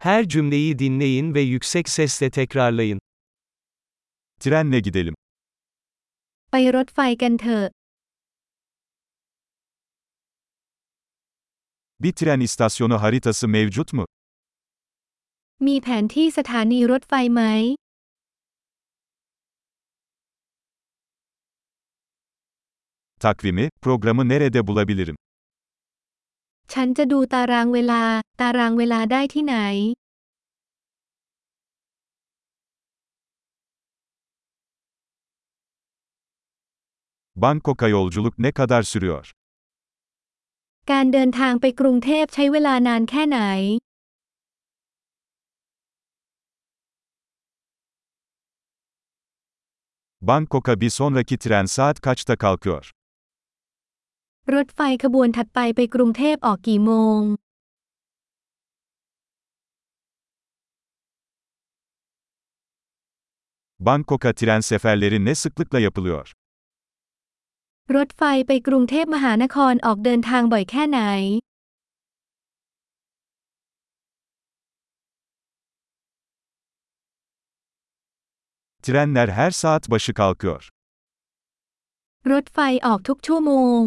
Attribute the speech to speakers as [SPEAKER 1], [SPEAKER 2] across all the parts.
[SPEAKER 1] Her cümleyi dinleyin ve yüksek sesle tekrarlayın.
[SPEAKER 2] Trenle gidelim.
[SPEAKER 3] ไปรถไฟกันเถอะ
[SPEAKER 2] Bir tren istasyonu haritası mevcut mu?
[SPEAKER 3] มีแผนที่สถานีรถไฟไหม
[SPEAKER 2] Takvimi, programı nerede bulabilirim?
[SPEAKER 3] ฉันจะดูตารางเวลา ตารางเวลาได้ที่ไหน
[SPEAKER 2] Bangkok'a yolculuk ne kadar sürüyor?
[SPEAKER 3] การเดินทางไปกรุงเทพใช้เวลานานแค่ไหน
[SPEAKER 2] Bangkok'a bir sonraki tren saat kaçta kalkıyor?
[SPEAKER 3] รถไฟขบวนถัดไปไปกรุงเทพออกกี่โมง
[SPEAKER 2] Bangkok'a tren seferleri ne sıklıkla yapılıyor?
[SPEAKER 3] รถไฟไปกรุงเทพมหานครออกเดินทางบ่อยแค่ไหน
[SPEAKER 2] Trenler her saat başı kalkıyor.
[SPEAKER 3] รถไฟออกทุกชั่วโมง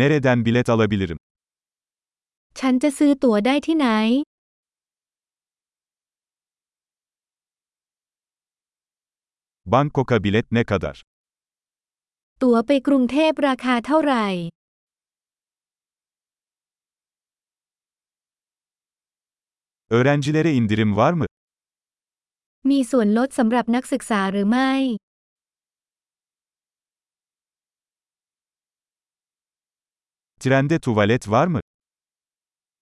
[SPEAKER 2] Nereden bilet alabilirim?
[SPEAKER 3] ฉันจะซื้อตั๋วได้ที่ไหน
[SPEAKER 2] Bangkok'a bilet ne kadar?
[SPEAKER 3] ตั๋วไปกรุงเทพราคาเท่าไหร่
[SPEAKER 2] Öğrencilere indirim var mı?
[SPEAKER 3] มีส่วนลดสำหรับนักศึกษาหรือไม่
[SPEAKER 2] Trende tuvalet var mı?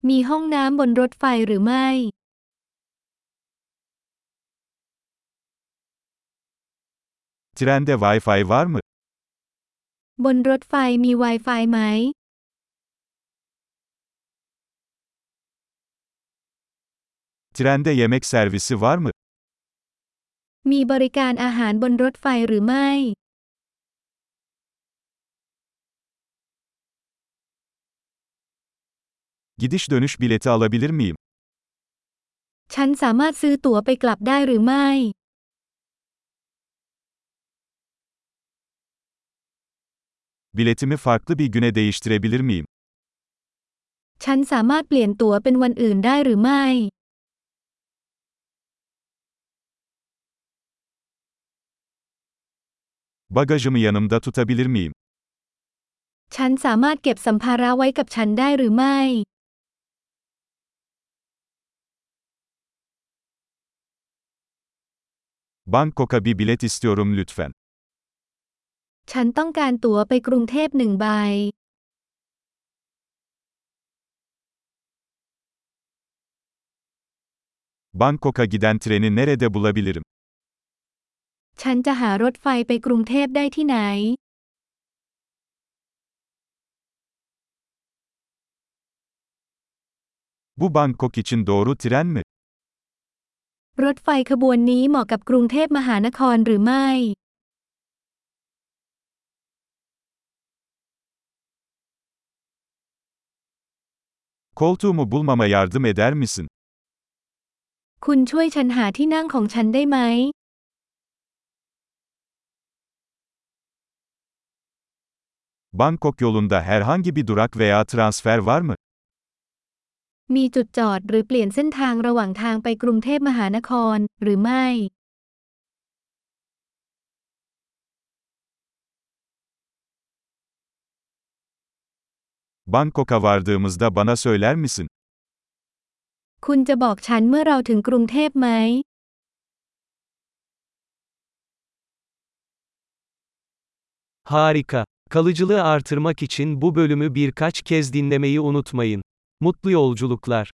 [SPEAKER 3] มีห้องน้ำบนรถไฟหรือไม่
[SPEAKER 2] Trende Wi-Fi var mı?
[SPEAKER 3] บนรถไฟมี Wi-Fi ไหม
[SPEAKER 2] Trende yemek servisi var mı?
[SPEAKER 3] มีบริการอาหารบนรถไฟหรือไม่
[SPEAKER 2] Gidiş dönüş bileti alabilir miyim?
[SPEAKER 3] ฉันสามารถซื้อตั๋วไปกลับได้หรือไม่
[SPEAKER 2] Biletimi farklı bir güne değiştirebilir miyim?
[SPEAKER 3] ฉันสามารถเปลี่ยนตั๋วเป็นวันอื่นได้หรือไม่
[SPEAKER 2] Bagajımı yanımda tutabilir miyim?
[SPEAKER 3] ฉันสามารถเก็บสัมภาระไว้กับฉันได้หรือไม่
[SPEAKER 2] Bangkok'a bir bilet istiyorum lütfen.
[SPEAKER 3] ฉันต้องการตั๋วไปกรุงเทพหนึ่งใบ
[SPEAKER 2] Bangkok'a giden treni nerede bulabilirim?
[SPEAKER 3] ฉันจะหารถไฟไปกรุงเทพได้ที่ไหน
[SPEAKER 2] Bu Bangkok için doğru tren mi?
[SPEAKER 3] รถไฟขบวนนี้เหมาะกับกรุงเทพมหานครหรือไม่
[SPEAKER 2] Koltuğumu bulmama yardım eder misin?
[SPEAKER 3] คุณช่วยฉันหาที่นั่งของฉันได้ไหม
[SPEAKER 2] Bangkok yolunda herhangi bir durak veya transfer var mı?
[SPEAKER 3] มีจุดจอดหรือเปลี่ยนเส้นทางระหว่างทางไปกรุงเทพมหานครหรือไม่
[SPEAKER 2] Bangkok'a vardığımızda bana söyler misin?
[SPEAKER 3] คุณจะบอกฉันเมื่อเราถึงกรุงเทพไหม
[SPEAKER 1] Harika. Kalıcılığı artırmak için bu bölümü birkaç kez dinlemeyi unutmayın. Mutlu yolculuklar.